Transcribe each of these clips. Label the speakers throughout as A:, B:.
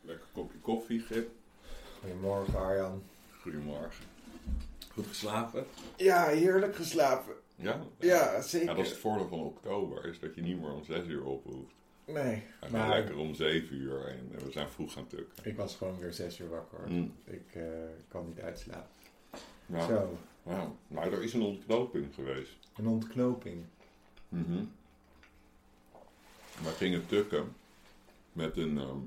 A: Lekker kopje koffie, Gip.
B: Goedemorgen, Arjan.
A: Goedemorgen. Goed geslapen?
B: Ja, heerlijk geslapen.
A: Ja?
B: Ja,
A: Ja,
B: zeker.
A: dat is het voordeel van oktober, is dat je niet meer om 6 uur op hoeft.
B: Nee,
A: En dan
B: maar
A: lekker om 7 uur en we zijn vroeg gaan tukken.
B: ik was gewoon weer zes uur wakker. hoor.
A: Mm.
B: Ik eh, kan niet uitslapen.
A: Nou,
B: Zo,
A: nou, maar er is een ontknoping geweest.
B: een ontknoping.
A: Mhm. We gingen tukken met een ehm,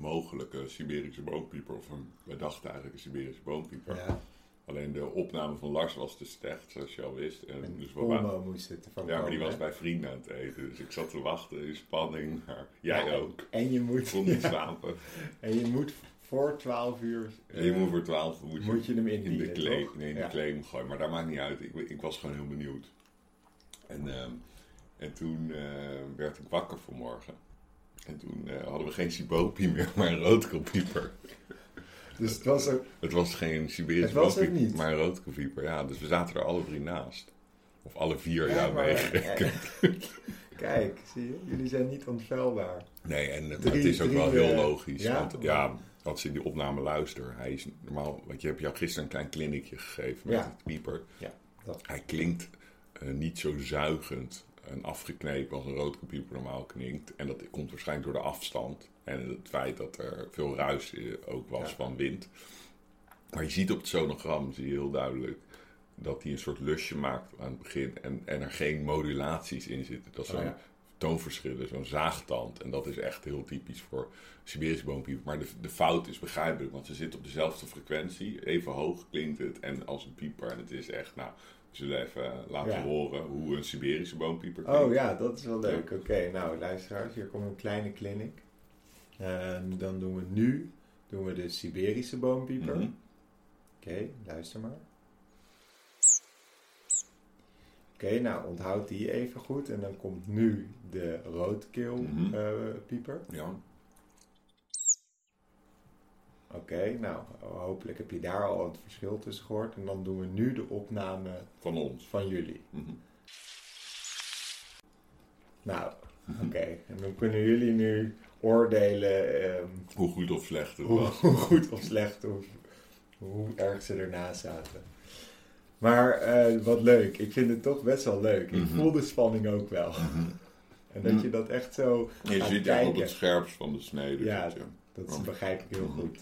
A: mogelijke Siberische boompieper. Of een, we dachten eigenlijk een Siberische boompieper.
B: Ja,
A: Alleen de opname van Lars was te slecht, zoals je al wist. En
B: een
A: dus we waren,
B: polmo moest het ervan
A: ja, maar die
B: komen,
A: was
B: hè.
A: bij vrienden aan het eten. Dus ik zat te wachten in spanning. Maar jij
B: Ja,
A: ook.
B: En je
A: Ik
B: moet,
A: kon niet
B: ja,
A: slapen.
B: en je moet voor twaalf uur... eh,
A: En je moet voor 12 moet je,
B: moet je hem
A: in de
B: indienen,
A: claim,
B: toch?
A: nee, in de
B: Ja.
A: claim gooien. Maar dat maakt niet uit. Ik, ik was gewoon heel benieuwd. En, ehm, en toen eh, werd ik wakker vanmorgen. En toen eh, hadden we geen Sibopi meer, maar een roodkopieper.
B: Dus het was ook...
A: Het was geen Siberische
B: Het was het
A: roodkopieper,
B: niet.
A: maar een roodkopieper. Ja, dus we zaten er alle drie naast. Of alle vier, ja,
B: Ja, maar- eh,
A: meegerekend.
B: Kijk, zie je? Jullie zijn niet ontvuilbaar.
A: Nee, en eh,
B: Drie-
A: het is ook
B: drie,
A: wel heel
B: eh,
A: logisch.
B: ja?
A: Want ja, als ik die opname luister, hij is normaal. Want je hebt jou gisteren een klein klinikje gegeven met
B: Ja.
A: het pieper.
B: Ja, dat-
A: Hij klinkt eh, niet zo zuigend en afgeknepen als een roodkopieper normaal klinkt. En dat komt waarschijnlijk door de afstand en het feit dat er veel ruis eh, ook was
B: Ja.
A: van wind. Maar je ziet op het sonogram, zie je heel duidelijk. Dat hij een soort lusje maakt aan het begin en, en er geen modulaties in zitten. Dat is
B: Oh
A: zo'n
B: ja.
A: toonverschillen, zo'n zaagtand. En dat is echt heel typisch voor Siberische boompieper. Maar de, de fout is begrijpelijk, want ze zitten op dezelfde frequentie. Even hoog klinkt het en als een pieper. En het is echt, nou, we zullen even eh, laten
B: Ja.
A: horen hoe een Siberische boompieper klinkt.
B: Oh ja, dat is wel leuk. Oké, nou luisteraars, hier komt een kleine clinic. Ehm, dan doen we nu doen we de Siberische boompieper.
A: Mhm.
B: Oké, luister maar. Oké, nou onthoud die even goed. En dan komt nu de roodkeel
A: Mhm.
B: eh, pieper.
A: Ja.
B: Oké, nou hopelijk heb je daar al het verschil tussen gehoord. En dan doen we nu de opname
A: van ons.
B: van jullie.
A: Mhm.
B: Nou, oké. En dan kunnen jullie nu oordelen... ehm,
A: Hoe goed of slecht het
B: hoe,
A: was.
B: hoe goed of slecht, hoe, hoe erg ze ernaast zaten. Maar eh, wat leuk, ik vind het toch best wel leuk. Ik
A: Mhm.
B: voel de spanning ook wel. En dat
A: Mm.
B: je dat echt zo,
A: Je
B: Gaan
A: zit echt op het
B: kijken.
A: scherpst van de snede.
B: Ja.
A: zit je.
B: dat
A: Oh.
B: begrijp ik heel
A: Mhm.
B: goed.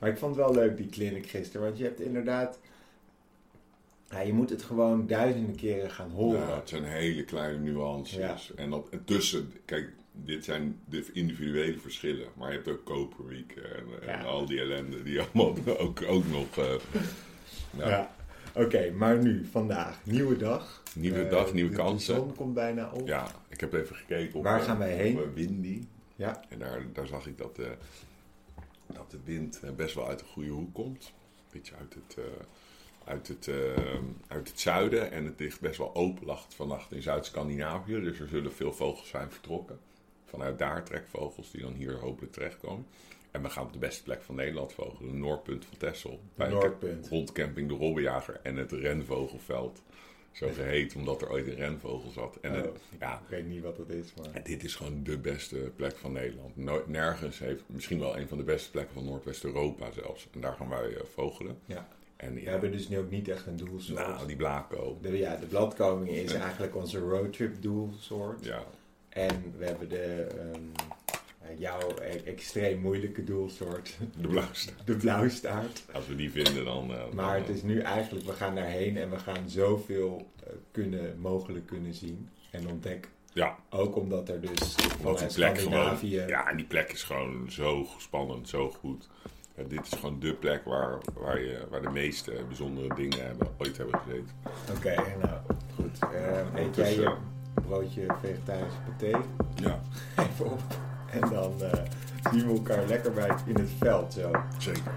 B: Maar ik vond het wel leuk die clinic gisteren, want je hebt inderdaad, ja, je moet het gewoon duizenden keren gaan horen.
A: Ja, het zijn hele kleine nuances. En dat en tussen, kijk, dit zijn de individuele verschillen. Maar je hebt ook Koperweek en, en
B: Ja.
A: al die ellende die allemaal ook, ook nog. eh, nou,
B: Ja. Oké, maar nu, vandaag, nieuwe dag.
A: Nieuwe
B: Eh,
A: dag, nieuwe
B: de-
A: kansen.
B: De zon komt bijna op.
A: ja, ik heb even gekeken op.
B: Waar
A: eh,
B: gaan wij heen?
A: Op eh, Windy.
B: Ja.
A: En daar, daar zag ik dat, eh, dat de wind eh, best wel uit de goede hoek komt. Een beetje uit het, eh, uit, het, eh, uit het zuiden. En het ligt best wel open lag het vannacht in Zuid-Scandinavië. Dus er zullen veel vogels zijn vertrokken. Vanuit daar trekvogels die dan hier hopelijk terechtkomen. En we gaan op de beste plek van Nederland vogelen. het Noordpunt van Texel. Bij
B: Noordpunt.
A: rondcamping De Robbejager en het Renvogelveld. Zo geheet omdat er ooit een renvogel zat. En het-
B: Oh.
A: ja,
B: Ik weet niet wat dat is, maar...
A: en dit is gewoon de beste plek van Nederland. No- nergens heeft misschien wel een van de beste plekken van Noordwest-Europa zelfs. En daar gaan wij eh, vogelen.
B: Ja.
A: En
B: We
A: ja,
B: hebben dus nu ook niet echt een doelsoort.
A: nou, die blako.
B: De, ja, de bladkoming is eigenlijk onze roadtrip doelsoort.
A: Ja,
B: En we hebben de ehm, eh, jouw e- extreem moeilijke doelsoort,
A: de blauwste.
B: de blauwstaart.
A: Als we die vinden, dan. eh, dan,
B: Maar het
A: eh,
B: is nu eigenlijk, we gaan daarheen en we gaan zoveel eh, kunnen, mogelijk kunnen zien en ontdekken.
A: eh, Ja.
B: Ook omdat er dus
A: Wat die
B: vanuit
A: plek gewoon.
B: Scandinavië...
A: Ja, en die plek is gewoon zo spannend, zo goed. Ja, dit is gewoon de plek waar, waar, je, waar de meeste bijzondere dingen hebben, ooit hebben gezeten.
B: Oké, nou goed. Eh, eet jij
A: Dus,
B: je
A: eh,
B: broodje vegetarische paté?
A: Ja,
B: even op. En dan eh, zien we elkaar lekker bij in het veld zo.
A: zeker.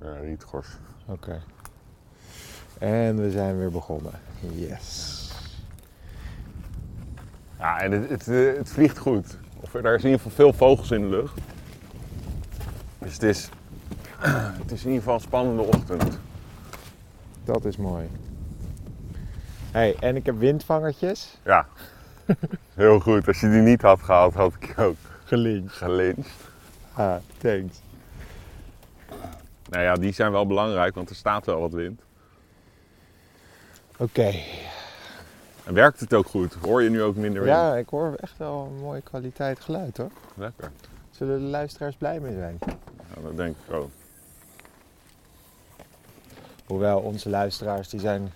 A: Ja, rietgors.
B: Oké. En we zijn weer begonnen. Yes.
A: Ja, en het, het, eh, het vliegt goed. Of er daar is in ieder geval veel vogels in de lucht. Dus het is, het is in ieder geval een spannende ochtend.
B: Dat is mooi. hey, en ik heb windvangertjes.
A: Ja, heel goed. Als je die niet had gehaald, had ik je ook
B: Gelinkt.
A: gelinst.
B: Ah, thanks.
A: Nou ja, die zijn wel belangrijk, want er staat wel wat wind.
B: Oké.
A: En werkt het ook goed? Hoor je nu ook minder wind?
B: Ja, ik hoor echt wel een mooie kwaliteit geluid hoor.
A: Lekker.
B: Zullen de luisteraars blij mee zijn?
A: Ja, dat denk ik ook.
B: Hoewel onze luisteraars die zijn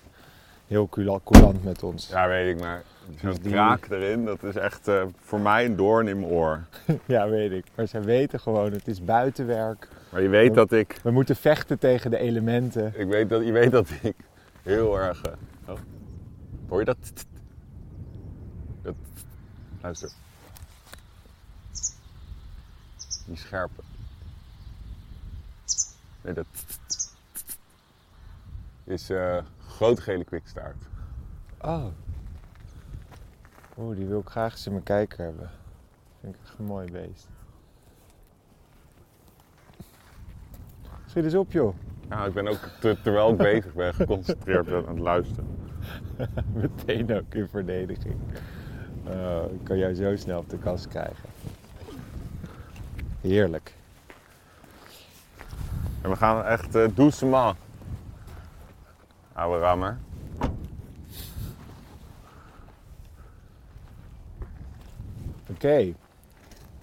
B: heel cula- coulant met ons.
A: Ja, weet ik maar. Zo'n
B: die-
A: kraak erin, dat is echt eh, voor mij een doorn in mijn oor.
B: Ja, weet ik. Maar zij weten gewoon, het is buitenwerk.
A: Maar je weet dat ik
B: We moeten vechten tegen de elementen.
A: Ik weet dat, je weet dat ik heel erg. eh, oh. Hoor je dat? dat? Luister. Die scherpe. Nee, dat. Is eh grote gele kwikstaart.
B: Oh. Oeh, die wil ik graag eens in mijn kijker hebben. Vind ik echt een mooi beest. Schiet eens op, joh.
A: Nou, ik ben ook te- terwijl ik bezig ben geconcentreerd aan het luisteren.
B: Meteen ook in verdediging. Oh, ik kan jou zo snel op de kast krijgen. Heerlijk.
A: En we gaan echt uh, doucement. Oude rammer.
B: Oké.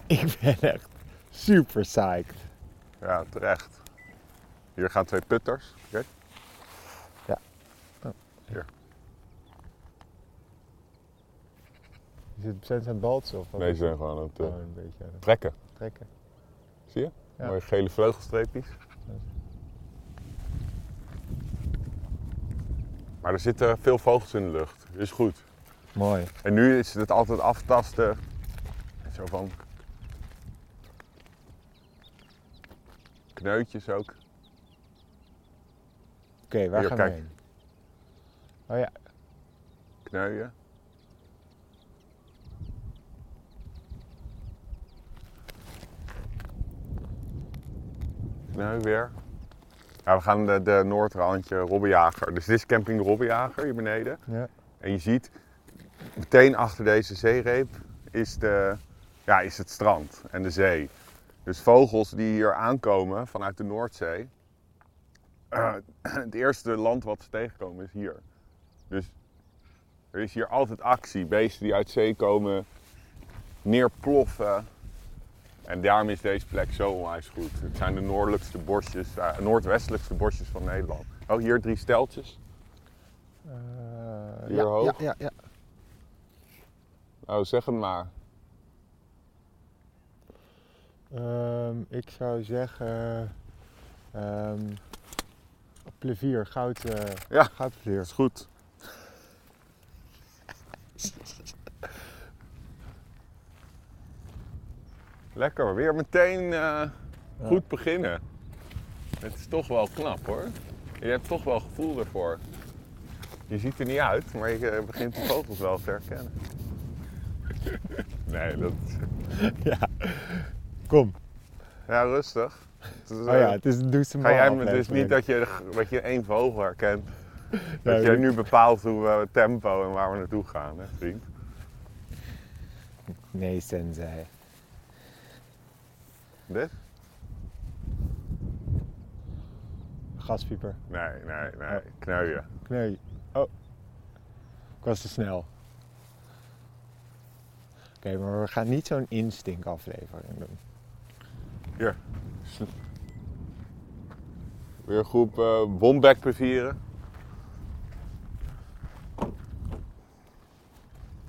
B: Ik ben echt super psyched.
A: Ja, terecht. Hier gaan twee putters. Kijk.
B: Ja.
A: Hier.
B: Is het zijn het baltsen of wat?
A: Deze zijn gewoon aan het eh,
B: Gewoon een beetje aan het
A: trekken.
B: trekken.
A: Zie je?
B: Ja.
A: Mooie gele vleugelstreepjes. Maar er zitten veel vogels in de lucht. Is goed.
B: Mooi.
A: En nu is het altijd aftasten. En Zo van. Kneutjes ook.
B: Oké, waar
A: Hier,
B: gaan
A: kijk.
B: we heen? Oh ja,
A: Kneuien. Kneu Nou, weer. Ja, we gaan de, de Noordrandje Robbenjager. Dus dit is camping de Robbenjager hier beneden.
B: ja.
A: En je ziet, meteen achter deze zeereep is, de, ja, is het strand en de zee. Dus vogels die hier aankomen vanuit de Noordzee. eh, het eerste land wat ze tegenkomen is hier. Dus er is hier altijd actie. Beesten die uit zee komen, neerploffen. En daarom is deze plek zo onwijs goed. Het zijn de noordelijkste bosjes, eh, noordwestelijkste bosjes van Nederland. Oh, hier drie steltjes.
B: Eh,
A: Hier
B: ja, ja,
A: hoog?
B: ja, ja.
A: Oh, zeg het maar.
B: Ehm, ik zou zeggen. ehm plevier, goud. eh
A: Ja.
B: goudplevier.
A: is goed. Lekker, weer meteen eh, goed beginnen. Het is toch wel knap hoor. Je hebt toch wel gevoel ervoor. Je ziet er niet uit, maar je eh, begint de vogels wel te herkennen. Nee, dat
B: Ja. Kom.
A: Ja, rustig. Het is,
B: Oh ja,
A: eh,
B: het is een douche
A: Ga jij me dus niet dat je, dat je één vogel herkent. Dat
B: Ja,
A: jij
B: ik-
A: nu bepaalt hoe we het tempo en waar we naartoe gaan, hè, vriend.
B: Nee, sensei.
A: Dit?
B: Gaspieper.
A: Nee, nee, nee. Kneuien.
B: Nee. Oh. Ik was te snel. Oké, maar we gaan niet zo'n instink aflevering doen.
A: Hier. Weer een groep eh bombek plevieren.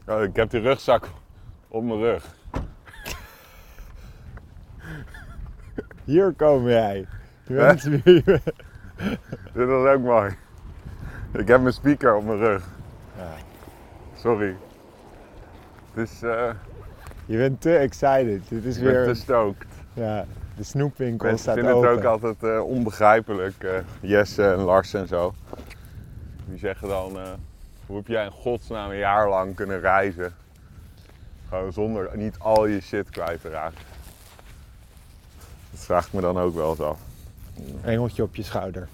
A: Oh, ik heb die rugzak op mijn rug.
B: Hier kom jij. Je bent wie je bent.
A: Dit was ook mooi. Ik heb mijn speaker op mijn rug.
B: Ja.
A: Sorry. Het is, eh,
B: Je bent te excited. Dit is
A: ik ben
B: weer.
A: te stoked.
B: Ja, De snoepwinkel
A: Mensen
B: staat
A: vinden
B: open.
A: het ook altijd eh, onbegrijpelijk. eh Jesse en Lars en zo. Die zeggen dan, eh, hoe heb jij in godsnaam een jaar lang kunnen reizen? Gewoon zonder niet al je shit kwijt te raken. Dat vraag ik me dan ook wel eens af.
B: Engeltje op je schouder.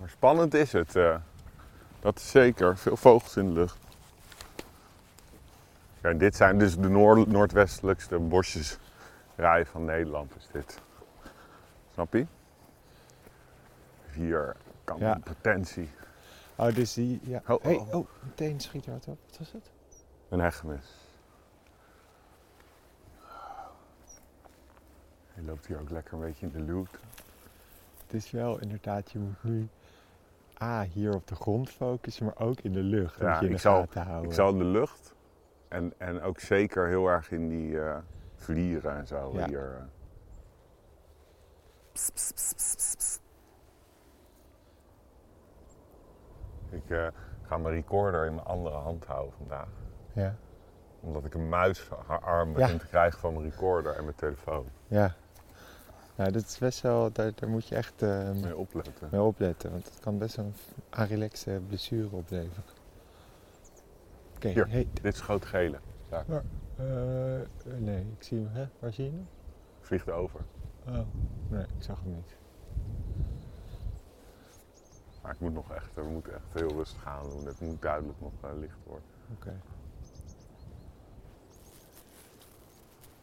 A: Maar spannend is het. eh. dat is zeker. Veel vogels in de lucht. Ja, en dit zijn dus de noor- noordwestelijkste bosjesrij van Nederland. Is dit. Snap je? Hier kan
B: Ja.
A: potentie.
B: Oh, dus die... Ja.
A: Oh, oh,
B: hey,
A: oh.
B: oh, meteen schiet er wat op. Wat was het?
A: Een heggenis. Hij loopt hier ook lekker een beetje in de loot.
B: Het is wel inderdaad, je moet nu... A, hier op de grond focussen, maar ook in de lucht.
A: Ja,
B: moet je in
A: ik
B: de
A: zal-
B: gaten houden.
A: Ik zal in de lucht en, en ook zeker heel erg in die eh, vlieren en zo.
B: Ja.
A: Hier, eh. Ik eh, ga mijn recorder in mijn andere hand houden vandaag.
B: Ja,
A: Omdat ik een muis haar arm
B: Ja.
A: begin te krijgen van mijn recorder en mijn telefoon.
B: ja. Nou, dat is best wel... Daar, daar moet je echt eh,
A: Moet je opletten.
B: mee opletten. Want het kan best wel een relaxe blessure opleveren. Oké,
A: Hier.
B: hey,
A: Dit is groot gele. Daar
B: Eh, nee, ik zie hem. Hè? Waar zie je hem?
A: vliegt over.
B: Oh. Nee, ik zag hem niet.
A: Maar ik moet nog echt, we moeten echt heel rustig aan doen. Het moet duidelijk nog eh, licht worden.
B: Oké.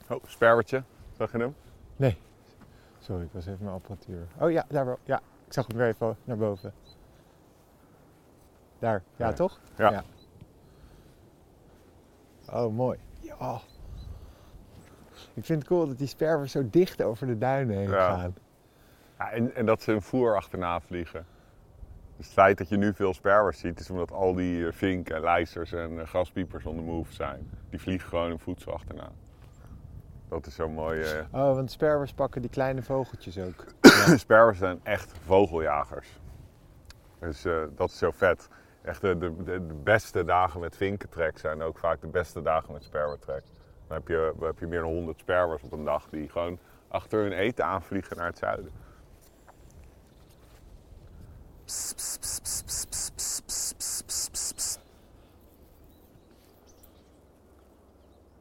A: Oh, sperwertje. Zag je hem?
B: Nee. Sorry, ik was even mijn apparatuur. Oh ja, daar wel. Ja, ik zag hem weer even naar boven. Daar. Ja,
A: Ja.
B: toch?
A: Ja.
B: Oh, mooi. Ja. Ik vind het cool dat die sperwers zo dicht over de duinen heen
A: Ja.
B: gaan.
A: Ja, en, en dat ze hun voer achterna vliegen. Dus het feit dat je nu veel sperwers ziet, is omdat al die eh, vinken, lijsters en eh, graspiepers on the move zijn. Die vliegen gewoon hun voedsel achterna. Dat is zo mooi. eh.
B: Oh, want sperwers pakken die kleine vogeltjes ook. Ja.
A: Sperwers zijn echt vogeljagers. Dus eh, dat is zo vet. Echt eh, de, de, de beste dagen met vinkentrek zijn ook vaak de beste dagen met sperwertrek. Dan heb je, heb je meer dan 100 sperwers op een dag die gewoon achter hun eten aanvliegen naar het zuiden.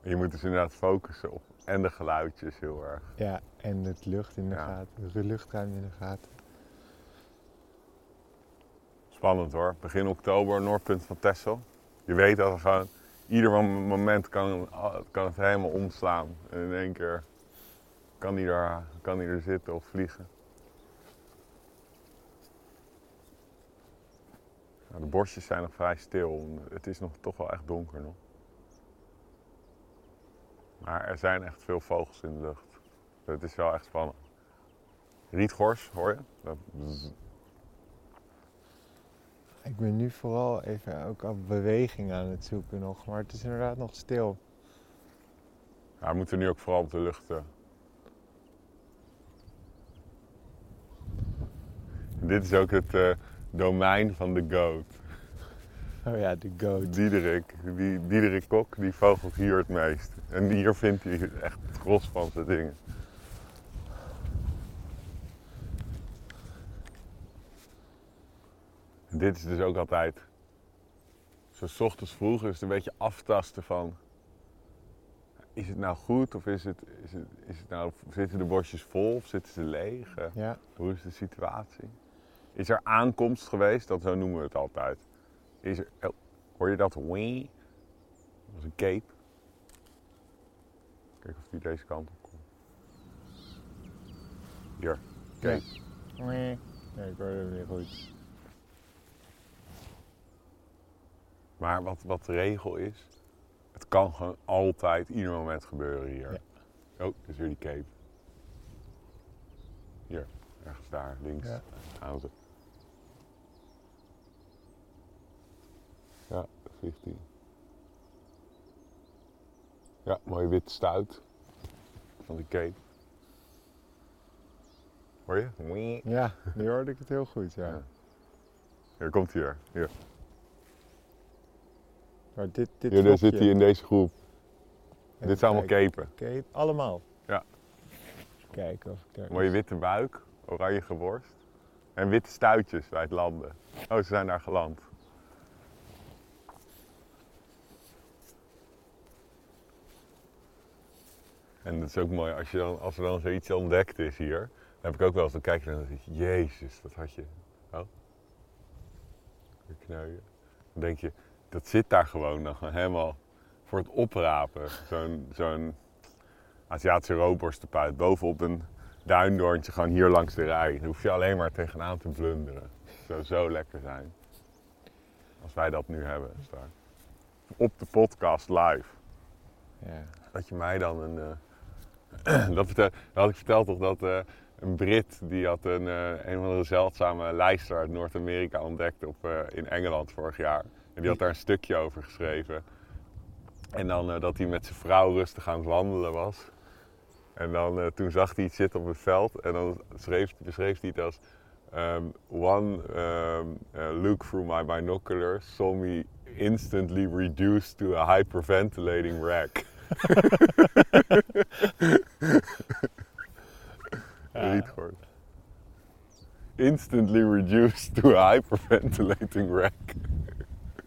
A: Je moet dus inderdaad focussen op en de geluidjes heel erg.
B: Ja, en het lucht in de
A: Ja.
B: gaten, de luchtruim in de gaten.
A: Spannend hoor. Begin oktober, Noordpunt van Texel. Je weet dat er gewoon ieder mom- moment kan, kan het helemaal omslaan. En in één keer kan hij er, kan hij er zitten of vliegen. Nou, de bosjes zijn nog vrij stil. Het is nog toch wel echt donker nog. Maar er zijn echt veel vogels in de lucht. Het is wel echt spannend. Rietgors, hoor je? Dat bzz.
B: Ik ben nu vooral even ook al beweging aan het zoeken nog, maar het is inderdaad nog stil.
A: Ja, we moeten nu ook vooral op de lucht. eh. Dit is ook het eh, domein van de goat.
B: Oh ja, de goat.
A: Diederik, die, Diederik Kok, die vogelt hier het meest. En hier vindt hij echt het gros van zijn dingen. En dit is dus ook altijd. Zo 's ochtends vroeg is het een beetje aftasten van. Is het nou goed of is het, is het, is het nou, zitten de bosjes vol of zitten ze leeg? Eh,
B: Ja,
A: hoe is de situatie? Is er aankomst geweest? Dat zo noemen we het altijd. Is er, oh, hoor je dat? Wee? Dat is een cape. Kijk of die deze kant op komt. Hier, cape.
B: nee, ik hoor hem weer goed.
A: Maar wat, wat de regel is, het kan gewoon altijd ieder moment gebeuren hier. Oh, dus weer die cape. Hier, ergens daar, links.
B: Ja.
A: Gaan ze. Ja, vliegt die. Ja, mooi wit stuit van die cape. Hoor je? Wee.
B: Ja, nu hoorde ik het heel goed, ja.
A: Ja. Hier komt hij er. Hier,
B: Maar dit, dit
A: hier daar
B: vlogje-
A: zit hij in deze groep.
B: Even
A: Dit zijn allemaal
B: kijken.
A: capen.
B: Cape, allemaal?
A: Ja.
B: kijken of ik daar...
A: Mooie witte buik, oranje geworst. En witte stuitjes bij het landen. Oh, ze zijn daar geland. En dat is ook mooi, als, je dan, als er dan zoiets ontdekt is hier, dan heb ik ook wel eens, dan kijk je dan en dan denk je, jezus, dat had je. Oh. Weer kneuien. Dan denk je, dat zit daar gewoon nog helemaal voor het oprapen. Zo'n zo'n Aziatische roodborstenpuit bovenop een duindoorntje gewoon hier langs de rij. Daar hoef je alleen maar tegenaan te blunderen. Het zou zo lekker zijn. Als wij dat nu hebben straks. Op de podcast live.
B: Ja.
A: Dat je mij dan een... eh, dat, vertel, dat had ik verteld toch dat eh, een Brit die had een, eh een van de zeldzame lijster uit Noord-Amerika ontdekt op, eh, in Engeland vorig jaar. En die had daar een stukje over geschreven. En dan eh, dat hij met zijn vrouw rustig aan het wandelen was. En dan eh, toen zag hij iets zitten op het veld. En dan schreef, beschreef hij het als... ehm, one ehm, eh, look through my binoculars saw me instantly reduced to a hyperventilating wreck. Rietgord. Instantly reduced to a hyperventilating wreck.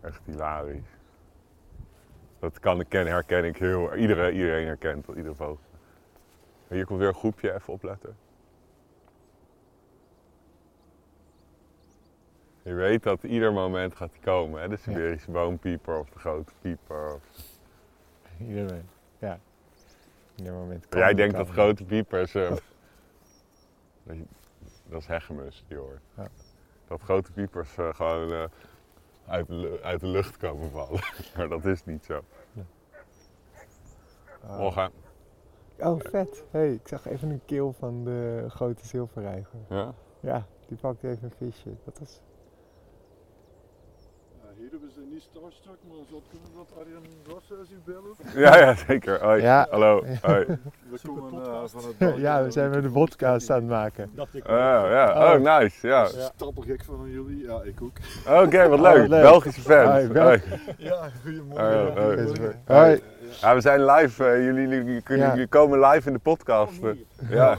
A: Echt hilarisch. Dat kan ik ken, herken ik heel. Iedereen, iedereen herkent dat, iedere vogel. Hier komt weer een groepje, even opletten. Je weet dat ieder moment gaat die komen, hè? De Siberische boompieper of de grote pieper. Of...
B: Iedereen. Ja. Ieder moment kan
A: Jij
B: het
A: denkt
B: kan.
A: dat grote piepers. eh, dat je- dat is Hegemus, die hoor.
B: Ja.
A: Dat grote piepers eh, gewoon eh, uit, de lu- uit de lucht komen vallen. maar dat is niet zo.
B: Ah.
A: Morgen.
B: Oh, vet. hey, ik zag even een keel van de grote zilverreiger.
A: Ja?
B: Ja, die pakt even een visje. Dat was...
C: Ja, hier hebben ze niet starstruck, maar het zou kunnen dat Arjen Rossen is u bellen.
A: ja, ja, zeker. Hoi.
B: Ja.
A: Hallo. Hoi.
C: We komen eh, van het
B: Ja, we zijn weer de podcast aan het maken.
C: Dacht ik.
A: Eh, ja. Oh, nice. Ja.
C: Stapelgek van jullie, ja, ik ook.
A: Oké, wat leuk.
B: Ah, leuk.
A: Belgische fans.
B: Hoi, Bel-
A: Hoi.
C: Ja,
A: Arjen,
C: goedemorgen.
A: hoi.
C: Goedemorgen.
B: Hoi.
A: Ja, we zijn live. eh, jullie, jullie kunnen,
B: Ja.
A: jullie komen live in de podcast.
C: Kom hier.
A: Ja,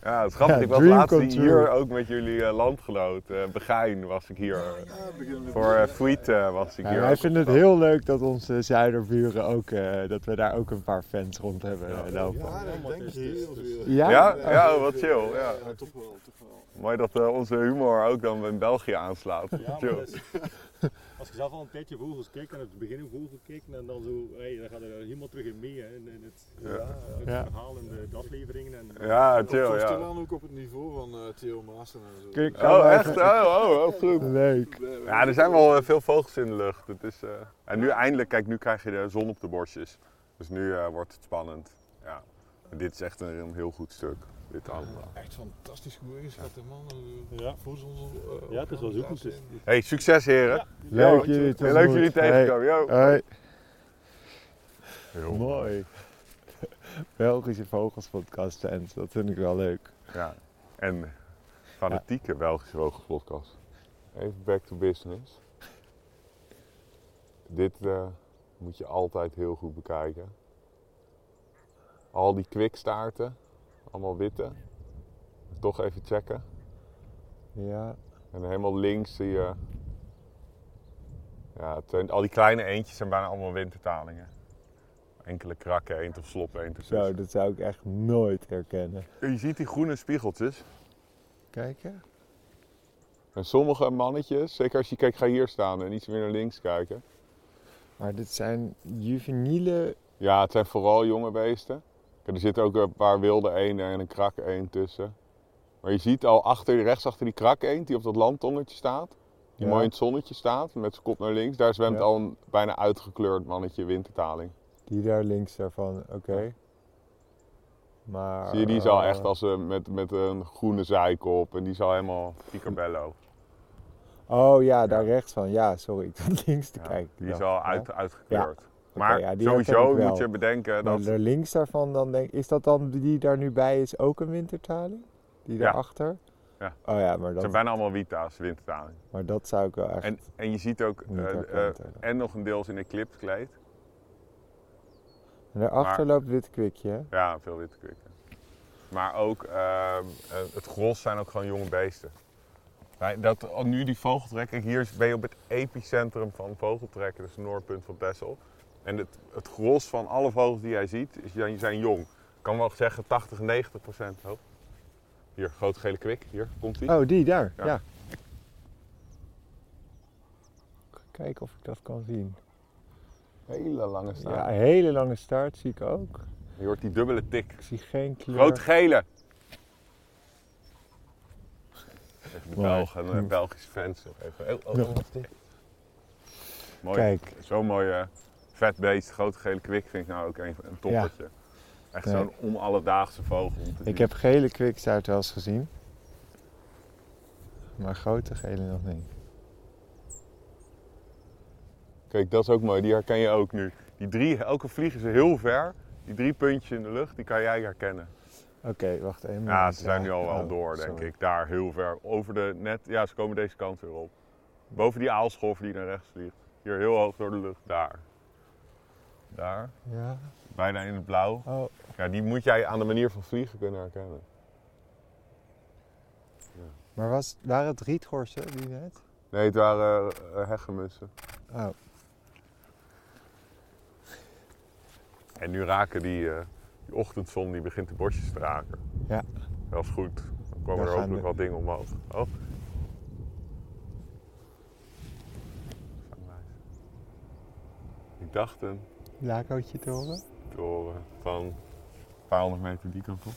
A: ja het is grappig.
B: Ja,
A: ik was
B: dream
A: laatst
B: come true.
A: hier ook met jullie eh, landgenoot. eh Begijn was ik hier. eh,
C: Ja, beginnen we.
A: Voor eh Fleet eh, was ik
B: Ja,
A: hier.
B: Nou, wij
A: ook
B: vinden het
A: op
B: heel leuk dat onze zuiderburen ook, eh, dat we daar ook een paar fans rond hebben eh, lopen.
C: Ja, ik denk dus, heel veel.
B: Ja?
A: Ja? Ja, wat chill, ja.
C: toch wel, toch wel.
A: stap. Mooi dat eh, onze humor ook dan in België aanslaat.
D: Ja, maar
A: Chill.
D: dat is- als je zelf al een tijdje vogels kijkt en in het begin een vogel kijkt en dan zo, hey, dan gaat er helemaal terug in mee hè, in, in het, het
B: Ja.
D: verhaal en de, de afleveringen. En,
A: Ja,
C: Dat
A: chill,
C: komt er
A: ja.
C: dan ook op het niveau van eh, Theo Maassen en zo.
B: Kun je- kan
A: Oh,
B: we
A: echt?
B: even-
A: Oh, oh, oh, goed.
B: Leuk.
C: Blij, hoor.
A: Ja, er zijn wel eh, veel vogels in de lucht. Het is, eh, En nu eindelijk, kijk, nu krijg je de zon op de borstjes. Dus nu eh, wordt het spannend. Ja. En dit is echt een, een heel goed stuk. Dit allemaal.
C: Echt fantastisch goed ingeschat, hè, man. Eh,
D: Ja.
C: Voor zo'n... eh,
D: ja, het is wel zo goed.
C: opnames.
D: Dus.
A: Hey, succes heren.
B: Leuk jullie te
A: Heel leuk
B: ontmoeten.
A: jullie tegenkomen. Yo.
B: Hey. Hoi.
A: Heel
B: Mooi. Belgische vogelspodcast fans, dat vind ik wel leuk.
A: Ja. En fanatieke Belgische vogelpodcast. Even back to business. Dit eh, moet je altijd heel goed bekijken. Al die kwikstaarten, allemaal witte. Toch even checken.
B: Ja.
A: En helemaal links zie je... Ja, het zijn- al die kleine eentjes zijn bijna allemaal wintertalingen. Enkele krakken, eend of slop, eend of
B: Zo, dat zou ik echt nooit herkennen.
A: Je ziet die groene spiegeltjes.
B: Kijken?
A: En sommige mannetjes, zeker als je kijkt, ga hier staan en iets meer naar links kijken.
B: Maar dit zijn juveniele...
A: Ja, het zijn vooral jonge beesten. Kijk, Er zitten ook een paar wilde eenden en een krak eend tussen. Maar je ziet al achter, rechts achter die krak eend die op dat landtongetje staat. Die
B: Ja.
A: mooi in het zonnetje staat, met zijn kop naar links. Daar zwemt
B: Ja.
A: al een bijna uitgekleurd mannetje wintertaling.
B: Die daar links daarvan, oké. Maar... eh,
A: Zie je, die is al echt als een, met, met een groene zijkop. En die is al helemaal picobello.
B: Oh ja, daar rechts van. Ja, sorry, ik zat links te
A: Ja,
B: kijken.
A: die is
B: Ja.
A: al uit, uitgekleurd. Maar
B: ja, die herken
A: sowieso
B: ik wel.
A: moet je bedenken
B: Maar
A: dat...
B: daar links daarvan dan denk is dat dan die daar nu bij is ook een wintertaling? Die
A: Ja.
B: daarachter?
A: Ja.
B: Oh ja, maar
A: Het zijn
B: dat,
A: bijna allemaal wita's, wintertaling.
B: maar dat zou ik wel echt...
A: En, en je ziet ook,
B: Niet
A: eh,
B: herkend,
A: eh,
B: hè, dan.
A: en nog een deels in een clipkleed.
B: En daarachter
A: Maar-
B: loopt wit kwikje, hè?
A: Ja, veel witte kwikken. Maar ook, ehm, eh, het gros zijn ook gewoon jonge beesten. Wij- Dat, al nu die vogeltrekker, hier is- ben je op het epicentrum van vogeltrekken, dus het noordpunt van Texel. En het, het gros van alle vogels die jij ziet, is, zijn- zijn jong. Ik kan wel zeggen 80, 90 procent. Oh. Hier, grote gele kwik, hier komt hij.
B: Oh, die daar,
A: Ja.
B: ja. Kijken of ik dat kan zien.
A: Hele lange
B: Ja,
A: staart.
B: een hele lange staart zie ik ook.
A: Je hoort die dubbele tik.
B: Ik zie geen kleur.
A: Grote gele. Even de
B: Mooi.
A: Belgen, eh, Belgische fans nog even. Oh, oh, oh, wat is dit? Mooi.
B: Kijk,
A: Zo'n mooie eh, vet beest, grote gele kwik vind ik nou ook een, een toppertje. Echt
B: Nee.
A: zo'n onalledaagse vogel. om te zien.
B: ik heb gele kwikstaart wel eens gezien. Maar grote gele nog niet.
A: Kijk, dat is ook mooi, die herken je ook nu. Die drie, elke vliegen ze heel ver. Die drie puntjes in de lucht, die kan jij herkennen.
B: Oké, wacht even.
A: Ja, ze zijn nu al wel door, denk
B: Oh, sorry.
A: ik. Daar heel ver. Over de net, ja, ze komen deze kant weer op. Boven die aalscholver die naar rechts vliegt. Hier heel hoog door de lucht, daar. Daar,
B: Ja.
A: bijna in het blauw.
B: Oh,
A: Ja, die moet jij aan de manier van vliegen kunnen herkennen.
B: maar was, waren het riethorsen die net?
A: Nee, het waren eh, hegemussen.
B: Oh,
A: En nu raken die, eh, die ochtendzon, die begint de bosjes te raken.
B: Ja.
A: Dat is goed. Dan komen
B: Dan
A: er
B: gaan
A: hopelijk
B: de-
A: wat dingen omhoog. Oh. Ik dacht een
B: lakootje toren.
A: toren eh, van een paar honderd meter die kant op.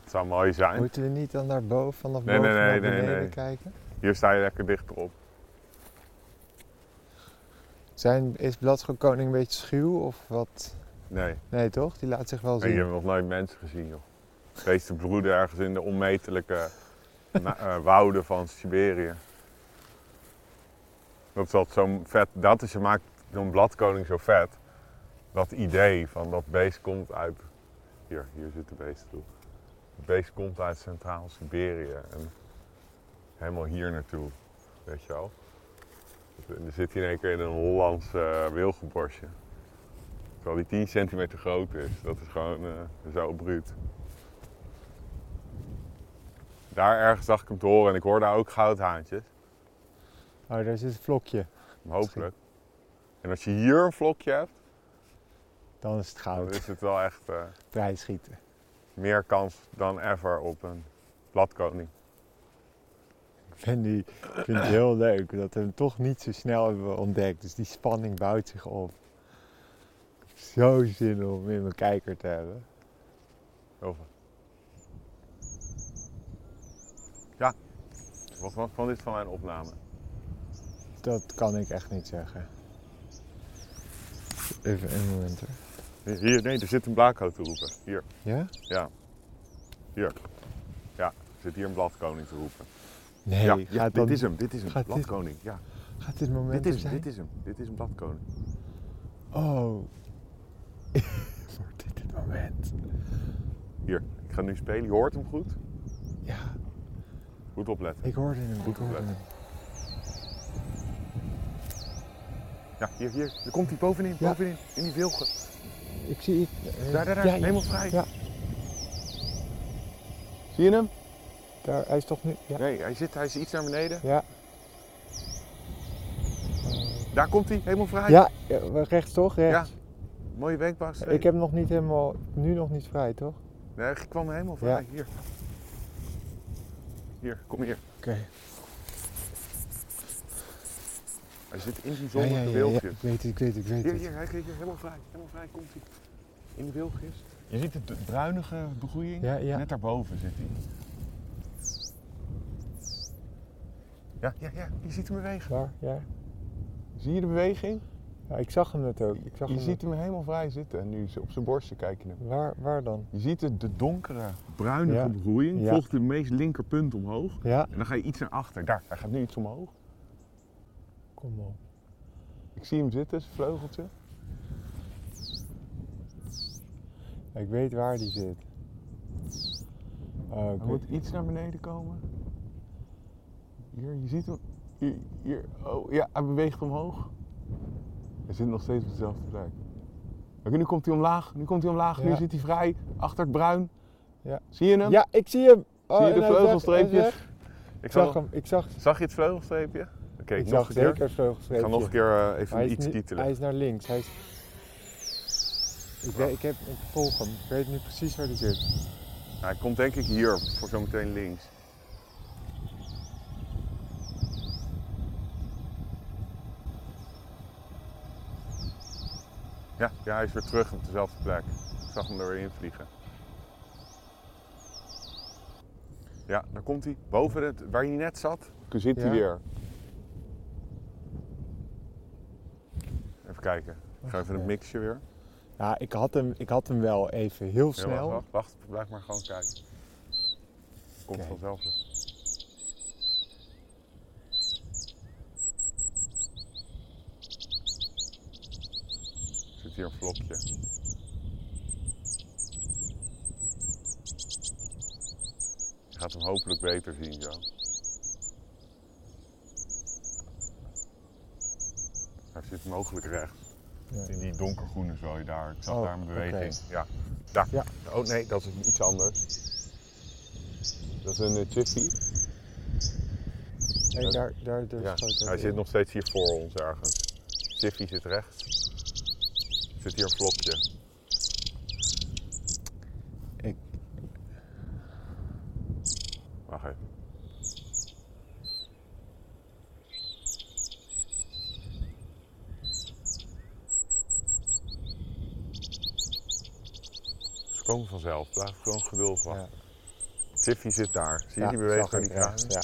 A: Het zou mooi zijn.
B: Moeten we niet dan naar boven, vanaf
A: Nee,
B: boven
A: nee, nee,
B: naar
A: nee,
B: beneden
A: nee.
B: kijken?
A: Hier sta je lekker dichterop.
B: Zijn, is bladschokkoning een beetje schuw of wat?
A: Nee,
B: Nee toch? Die laat zich wel
A: en
B: zien.
A: je hebt nog nooit mensen gezien, joh. Beesten broeden ergens in de onmetelijke na- eh, wouden van Siberië. Dat is wat zo'n vet, dat is, je maakt zo'n bladkoning zo vet. Dat idee van dat beest komt uit, hier, hier zit de beest toe. Het beest komt uit Centraal Siberië en helemaal hier naartoe, weet je wel. En dan zit hij in één keer in een Hollands eh wilgenborstje. Terwijl die 10 centimeter groot is. Dat is gewoon eh, zo bruut. Daar ergens zag ik hem te horen en ik hoor daar ook goudhaantjes.
B: Oh, daar zit een vlokje.
A: Maar hopelijk. En als je hier een vlokje hebt,
B: Dan is het
A: dan
B: goud.
A: is het wel echt eh,
B: Vrij schieten.
A: meer kans dan ever op een bladkoning.
B: Ik vind, die, ik vind het heel leuk dat we hem toch niet zo snel hebben ontdekt. Dus die spanning bouwt zich op. Ik heb zo zin om hem in mijn kijker te hebben.
A: Over. Ja, wat, wat kwam dit van mijn opname?
B: Dat kan ik echt niet zeggen. Even een moment hoor.
A: Hier, nee, er zit een blaakhout te roepen. Hier.
B: Ja?
A: Hier. Ja, er zit hier een bladkoning te roepen.
B: Nee,
A: ja,
B: gaat,
A: ja, dit
B: dan-
A: is hem, dit is hem.
B: gaat dit- dus
A: bladkoning, ja.
B: gaat dit moment
A: Dit is, hem,
B: er zijn?
A: dit is hem, dit is een bladkoning.
B: Oh. Wordt dit het moment?
A: Hier, ik ga nu spelen. Je hoort hem goed.
B: Ja,
A: Goed opletten.
B: ik hoorde hem. Ik hoorde hem.
A: Ja, hier, hier. Er komt hij bovenin,
B: Ja.
A: bovenin. In die wilgen.
B: Ik zie... Ik, eh,
A: Daar, daar, daar.
B: Ja, ja.
A: Helemaal vrij.
B: Ja.
A: Zie je hem?
B: Daar, hij is toch nu... Ja.
A: Nee, hij zit, hij is iets naar beneden.
B: Ja.
A: Daar komt hij, helemaal vrij.
B: Ja, ja, rechts toch? Rechts.
A: Mooie wenkbrauw.
B: ik heb hem nog niet helemaal... Nu nog niet vrij, toch?
A: Nee, ik kwam helemaal vrij.
B: Ja.
A: Hier. Hier, kom hier.
B: Oké.
A: Hij zit in die
B: Ja, ja,
A: zonnige
B: ja, ja.
A: wilgjes.
B: Ik weet het, ik weet het, ik weet
A: Hier,
B: het.
A: hier, hij kijkt hier, helemaal vrij. Helemaal vrij komt hij. In de wilgjes. Je ziet de bruinige begroeiing.
B: Ja, ja.
A: Net daarboven zit hij. Ja, ja, ja. Je ziet hem bewegen.
B: Daar, ja.
A: Zie je de beweging?
B: ja. Ik zag hem net ook. Ik zag
A: Je
B: hem
A: ziet hem helemaal vrij zitten. En nu op zijn borstje kijk je hem.
B: net. Waar, waar dan?
A: Je ziet de, de donkere, bruinige
B: Ja.
A: begroeiing.
B: Ja.
A: Volgt de meest linkerpunt omhoog.
B: Ja.
A: En dan ga je iets naar achter. Daar, hij gaat nu iets omhoog.
B: Kom op.
A: Ik zie hem zitten, zijn vleugeltje.
B: Ik weet waar die zit. Oh, ik
A: Hij
B: weet-
A: moet iets naar beneden komen. Hier, je ziet hem. Hier, hier. Oh, ja, hij beweegt omhoog. Hij zit nog steeds op dezelfde plek. Oké, nu komt hij omlaag, nu komt hij omlaag, nu
B: Ja.
A: zit hij vrij, achter het bruin.
B: Ja.
A: Zie je hem?
B: Ja, ik zie hem. Oh,
A: Zie je de
B: en hij is weg, hij is
A: vleugelstreepjes?
B: weg.
A: Ik
B: Ik
A: zal
B: zag
A: nog-
B: hem, ik zag,
A: Zag je het vleugelstreepje? Oké,
B: ik
A: nog
B: zag
A: een keer.
B: zeker het
A: Ik ga
B: vleugelstreepje.
A: nog een keer eh,
B: Hij
A: even
B: is
A: iets
B: nu-
A: kietelen.
B: Hij is naar links. Hij is... ik, weet, ik, heb, ik volg hem. Ik weet nu precies waar hij zit.
A: Nou, Hij komt denk ik hier, voor zometeen links. Ja, ja, hij is weer terug op dezelfde plek. Ik zag hem er weer in vliegen. Ja, daar komt hij. Boven het, waar hij net zat. Toen zit hij
B: Ja.
A: weer. Even kijken. Ik ga even een mixje weer.
B: Ja, ik had hem, ik had hem wel even heel
A: Ja, wacht,
B: snel.
A: wacht, wacht, blijf maar gewoon kijken. Komt
B: Kijk.
A: vanzelf. wel. Zit hier een vlokje. Je gaat hem hopelijk beter zien zo. Hij zit mogelijk rechts.
B: Ja.
A: In die donkergroene zooi daar. Ik zag
B: Oh,
A: daar een beweging.
B: oké.
A: Ja. Daar.
B: Ja.
A: Oh nee, dat is iets anders. Dat is een eh, chiffy.
B: Nee, daar, daar dus
A: Ja.
B: schoot
A: Hij
B: ook
A: zit
B: in.
A: nog steeds hier voor ons ergens. Chiffy zit rechts. Zit hier een vlokje.
B: Ik-
A: Wacht even. Ze komen vanzelf. Blijf gewoon geduldig wachten. Tiffy zit daar. Zie je
B: Ja,
A: die beweging
B: zag
A: naar
B: ik,
A: die
B: ja,
A: kruin?
B: ja.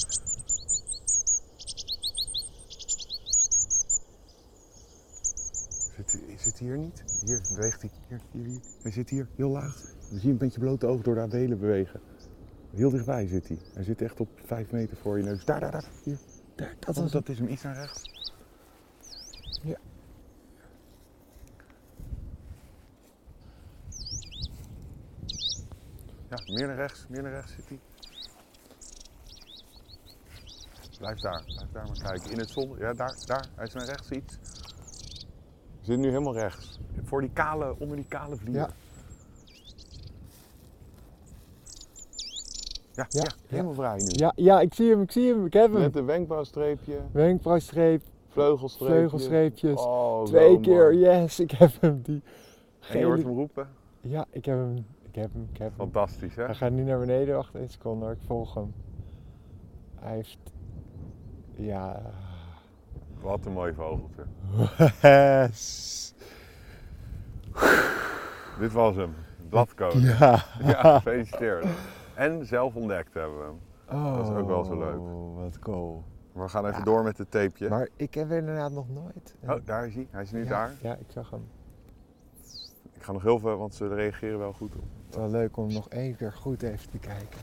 A: Zit, zit hij hier niet? Hier beweegt hij. Hier, hier, hier. Hij zit hier heel laag. Dan zie je een beetje blote oog door dat delen bewegen. Heel dichtbij zit hij. Hij zit echt op vijf meter voor je neus. Daar, daar, daar. Hier. Daar, dat, is, dat is hem iets naar rechts.
B: Ja.
A: Ja, meer naar rechts, meer naar rechts zit hij. Blijf daar, blijf daar maar kijken. In het zon, ja daar, daar, hij is naar rechts iets. We zitten nu helemaal rechts. Voor die kale, onder die kale vlier.
B: Ja.
A: Ja,
B: Ja,
A: ja, helemaal vrij nu.
B: Ja, ja, ik zie hem, ik zie hem, ik heb hem.
A: Met een wenkbrauwstreepje,
B: Wenkbrauwstreep,
A: vleugelstreepje.
B: vleugelstreepjes.
A: Oh, zo
B: Twee keer,
A: mooi.
B: yes, ik heb hem. Die
A: En je hoort
B: gele-
A: hem roepen.
B: Ja, ik heb hem, ik heb hem, ik heb hem.
A: Fantastisch, hè?
B: Hij gaat nu naar beneden, wacht één seconde hoor, ik volg hem. Hij heeft... Ja...
A: Wat een mooi vogeltje. Dit was hem. Bladkolen. Ja.
B: Ja.
A: gefeliciteerd. En zelf ontdekt hebben we hem.
B: Oh,
A: Dat is ook wel zo leuk.
B: Wat cool.
A: Maar we gaan even door met het tapeje.
B: Maar ik heb inderdaad nog nooit. een-
A: Oh, daar is hij. Hij is nu
B: ja,
A: daar.
B: Ja, ik zag hem.
A: Ik ga nog heel veel, want ze reageren wel goed op.
B: Het is wel leuk om nog één keer goed even te kijken.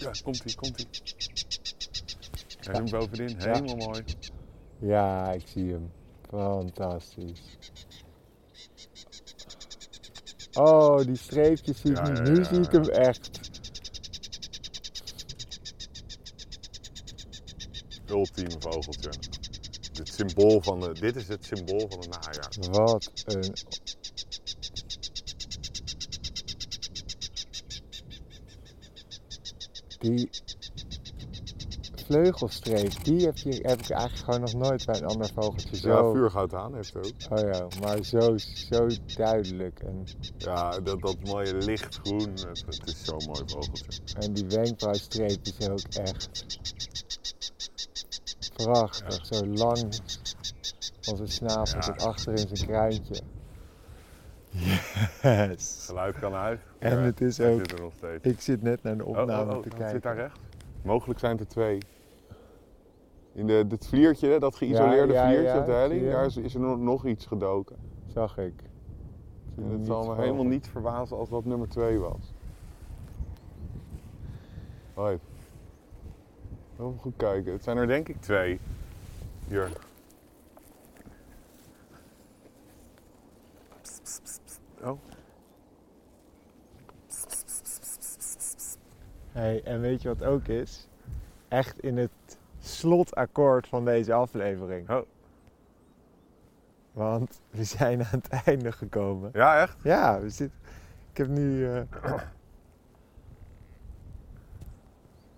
A: Ja, komt ie, komt ie. Hij is hem bovenin. Helemaal mooi.
B: Ja, ik zie hem. Fantastisch. Oh, die streepjes zie ik
A: Ja,
B: nu.
A: ja,
B: Nu
A: ja,
B: zie ik
A: ja.
B: hem echt.
A: Ultieme vogeltje. Dit, symbool van de, dit is het symbool van het najaar.
B: Wat een. Die vleugelstreep, die heb, je, heb ik eigenlijk gewoon nog nooit bij een ander vogeltje zo.
A: Ja, vuurgoud aan heeft ook.
B: Oh ja, maar zo, zo duidelijk. En,
A: Ja, dat, dat mooie lichtgroen. Het, het is zo'n mooi vogeltje.
B: en die wenkbrauwstreepjes ook echt. Prachtig, zo lang als een snavel
A: Ja.
B: tot achter in zijn kruintje. Yes!
A: Geluid kan uit.
B: En
A: Ja,
B: het is
A: hij
B: ook-
A: zit er nog steeds.
B: Ik zit net naar de opname te
A: Oh, wat
B: kijken.
A: zit daar rechts? Mogelijk zijn het er twee. In de, het vliertje, hè, dat geïsoleerde
B: Ja, ja,
A: vliertje
B: ja,
A: op de helling,
B: zie je.
A: daar is, is er no- nog iets gedoken.
B: Zag ik. Ik
A: En
B: zie hem
A: het
B: niet
A: zal me
B: boven.
A: helemaal niet verbazen als dat nummer twee was. Hoi. Even goed kijken. Het zijn er denk ik twee. Hier. Oh.
B: Hey, en weet je wat ook is? Echt in het slotakkoord van deze aflevering.
A: Oh.
B: Want we zijn aan het einde gekomen.
A: Ja, echt?
B: Ja, we zitten. Ik heb nu. eh,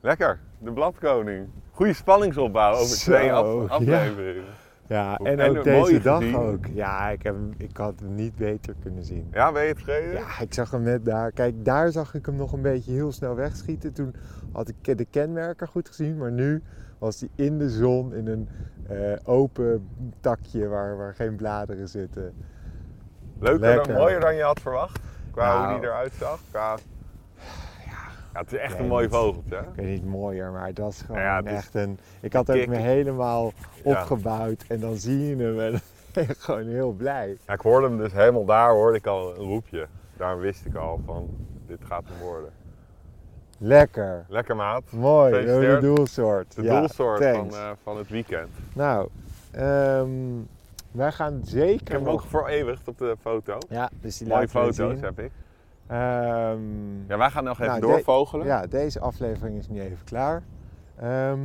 A: Lekker. De bladkoning. Goede spanningsopbouw over
B: Zo,
A: twee
B: ja.
A: af afleveringen.
B: ja,
A: Ook-
B: en
A: en
B: ook
A: een
B: deze
A: mooie
B: dag
A: gezien.
B: ook. Ja, ik, heb, hem- ik had hem niet beter kunnen zien.
A: Ja, ben je tevreden?
B: Ja, ik zag hem net daar. Kijk, daar zag ik hem nog een beetje heel snel wegschieten. Toen had ik de kenmerken goed gezien, maar nu was hij in de zon in een eh, open takje waar, waar geen bladeren zitten.
A: Leuker,
B: Lekker.
A: Dan, mooier dan je had verwacht. Qua
B: Nou.
A: hoe die eruit zag. Qua... Ja, het is echt
B: Nee,
A: een mooi
B: niet.
A: vogeltje. hè?
B: Ik weet niet mooier, maar dat is gewoon
A: Nou ja, het is
B: echt een. Ik had ook me
A: kick.
B: helemaal
A: Ja.
B: opgebouwd en dan zie je hem en dan ben je gewoon heel blij.
A: Ja, ik hoorde hem dus helemaal daar, hoorde ik al een roepje. Daar wist ik al van, dit gaat hem worden.
B: Lekker.
A: Lekker maat.
B: Mooi, rode
A: Gefeliciteerd.
B: doelsoort.
A: De
B: Ja,
A: doelsoort van,
B: thanks.
A: eh, van het weekend.
B: Nou, ehm, wij gaan zeker.
A: Ik heb hem
B: nog-
A: ook vereeuwigd op de foto.
B: Ja, dus die
A: Mooie
B: laten we
A: foto's
B: zien.
A: heb ik.
B: Ehm,
A: Ja, wij gaan nog even
B: Nou, de-
A: doorvogelen.
B: ja, deze aflevering is nu even klaar. Ehm,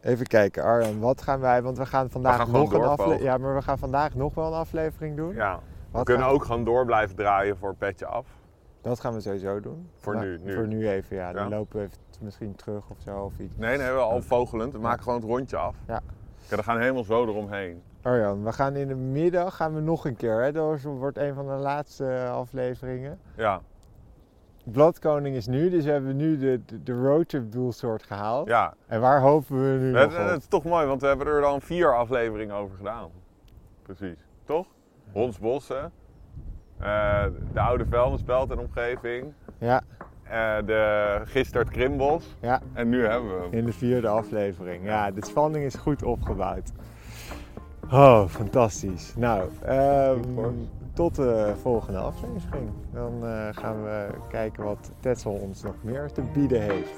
B: even kijken, Arjan, wat gaan wij? Want we gaan vandaag
A: gaan gewoon
B: nog een aflevering.
A: doorvogelen.
B: Ja, maar we gaan vandaag nog wel een aflevering doen.
A: Ja. We
B: Wat
A: kunnen
B: gaan-
A: ook gewoon door blijven draaien voor petje af.
B: Dat gaan we sowieso doen. Nou,
A: Voor nu, nu.
B: Voor nu even, ja. Dan
A: Ja.
B: lopen we even t- misschien terug of zo of iets.
A: Nee, nee, we al vogelend. We maken gewoon het rondje af.
B: Ja.
A: Oké, dan gaan we helemaal zo eromheen.
B: Arjan, we gaan in de middag gaan we nog een keer. Hè? Dat wordt een van de laatste eh, afleveringen.
A: Ja,
B: Oh, Bladkoning is nu, dus we hebben nu de, de, de roadtrip doelsoort gehaald.
A: ja.
B: En waar hopen we nu
A: Het,
B: nog op?
A: het is toch mooi, want we hebben er dan vier afleveringen over gedaan. Precies, toch? Hondsbossen, eh, de oude vuilnisbelt en omgeving,
B: Ja,
A: eh, de gisteren het krimbos
B: ja,
A: en nu hebben we hem.
B: in de vierde aflevering. Ja, de spanning is goed opgebouwd. Oh, fantastisch. Nou, ehm, tot de volgende aflevering. Dan eh, gaan we kijken wat Tetzel ons nog meer te bieden heeft.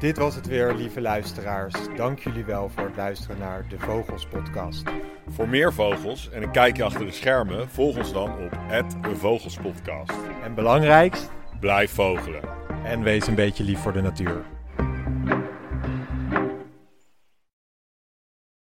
B: Dit was het weer, lieve luisteraars. Dank jullie wel voor het luisteren naar de Vogels Podcast.
E: Voor meer vogels en een kijkje achter de schermen, volg ons dan op het Vogelspodcast.
B: En belangrijkst,
E: Blijf vogelen.
B: en wees een beetje lief voor de natuur.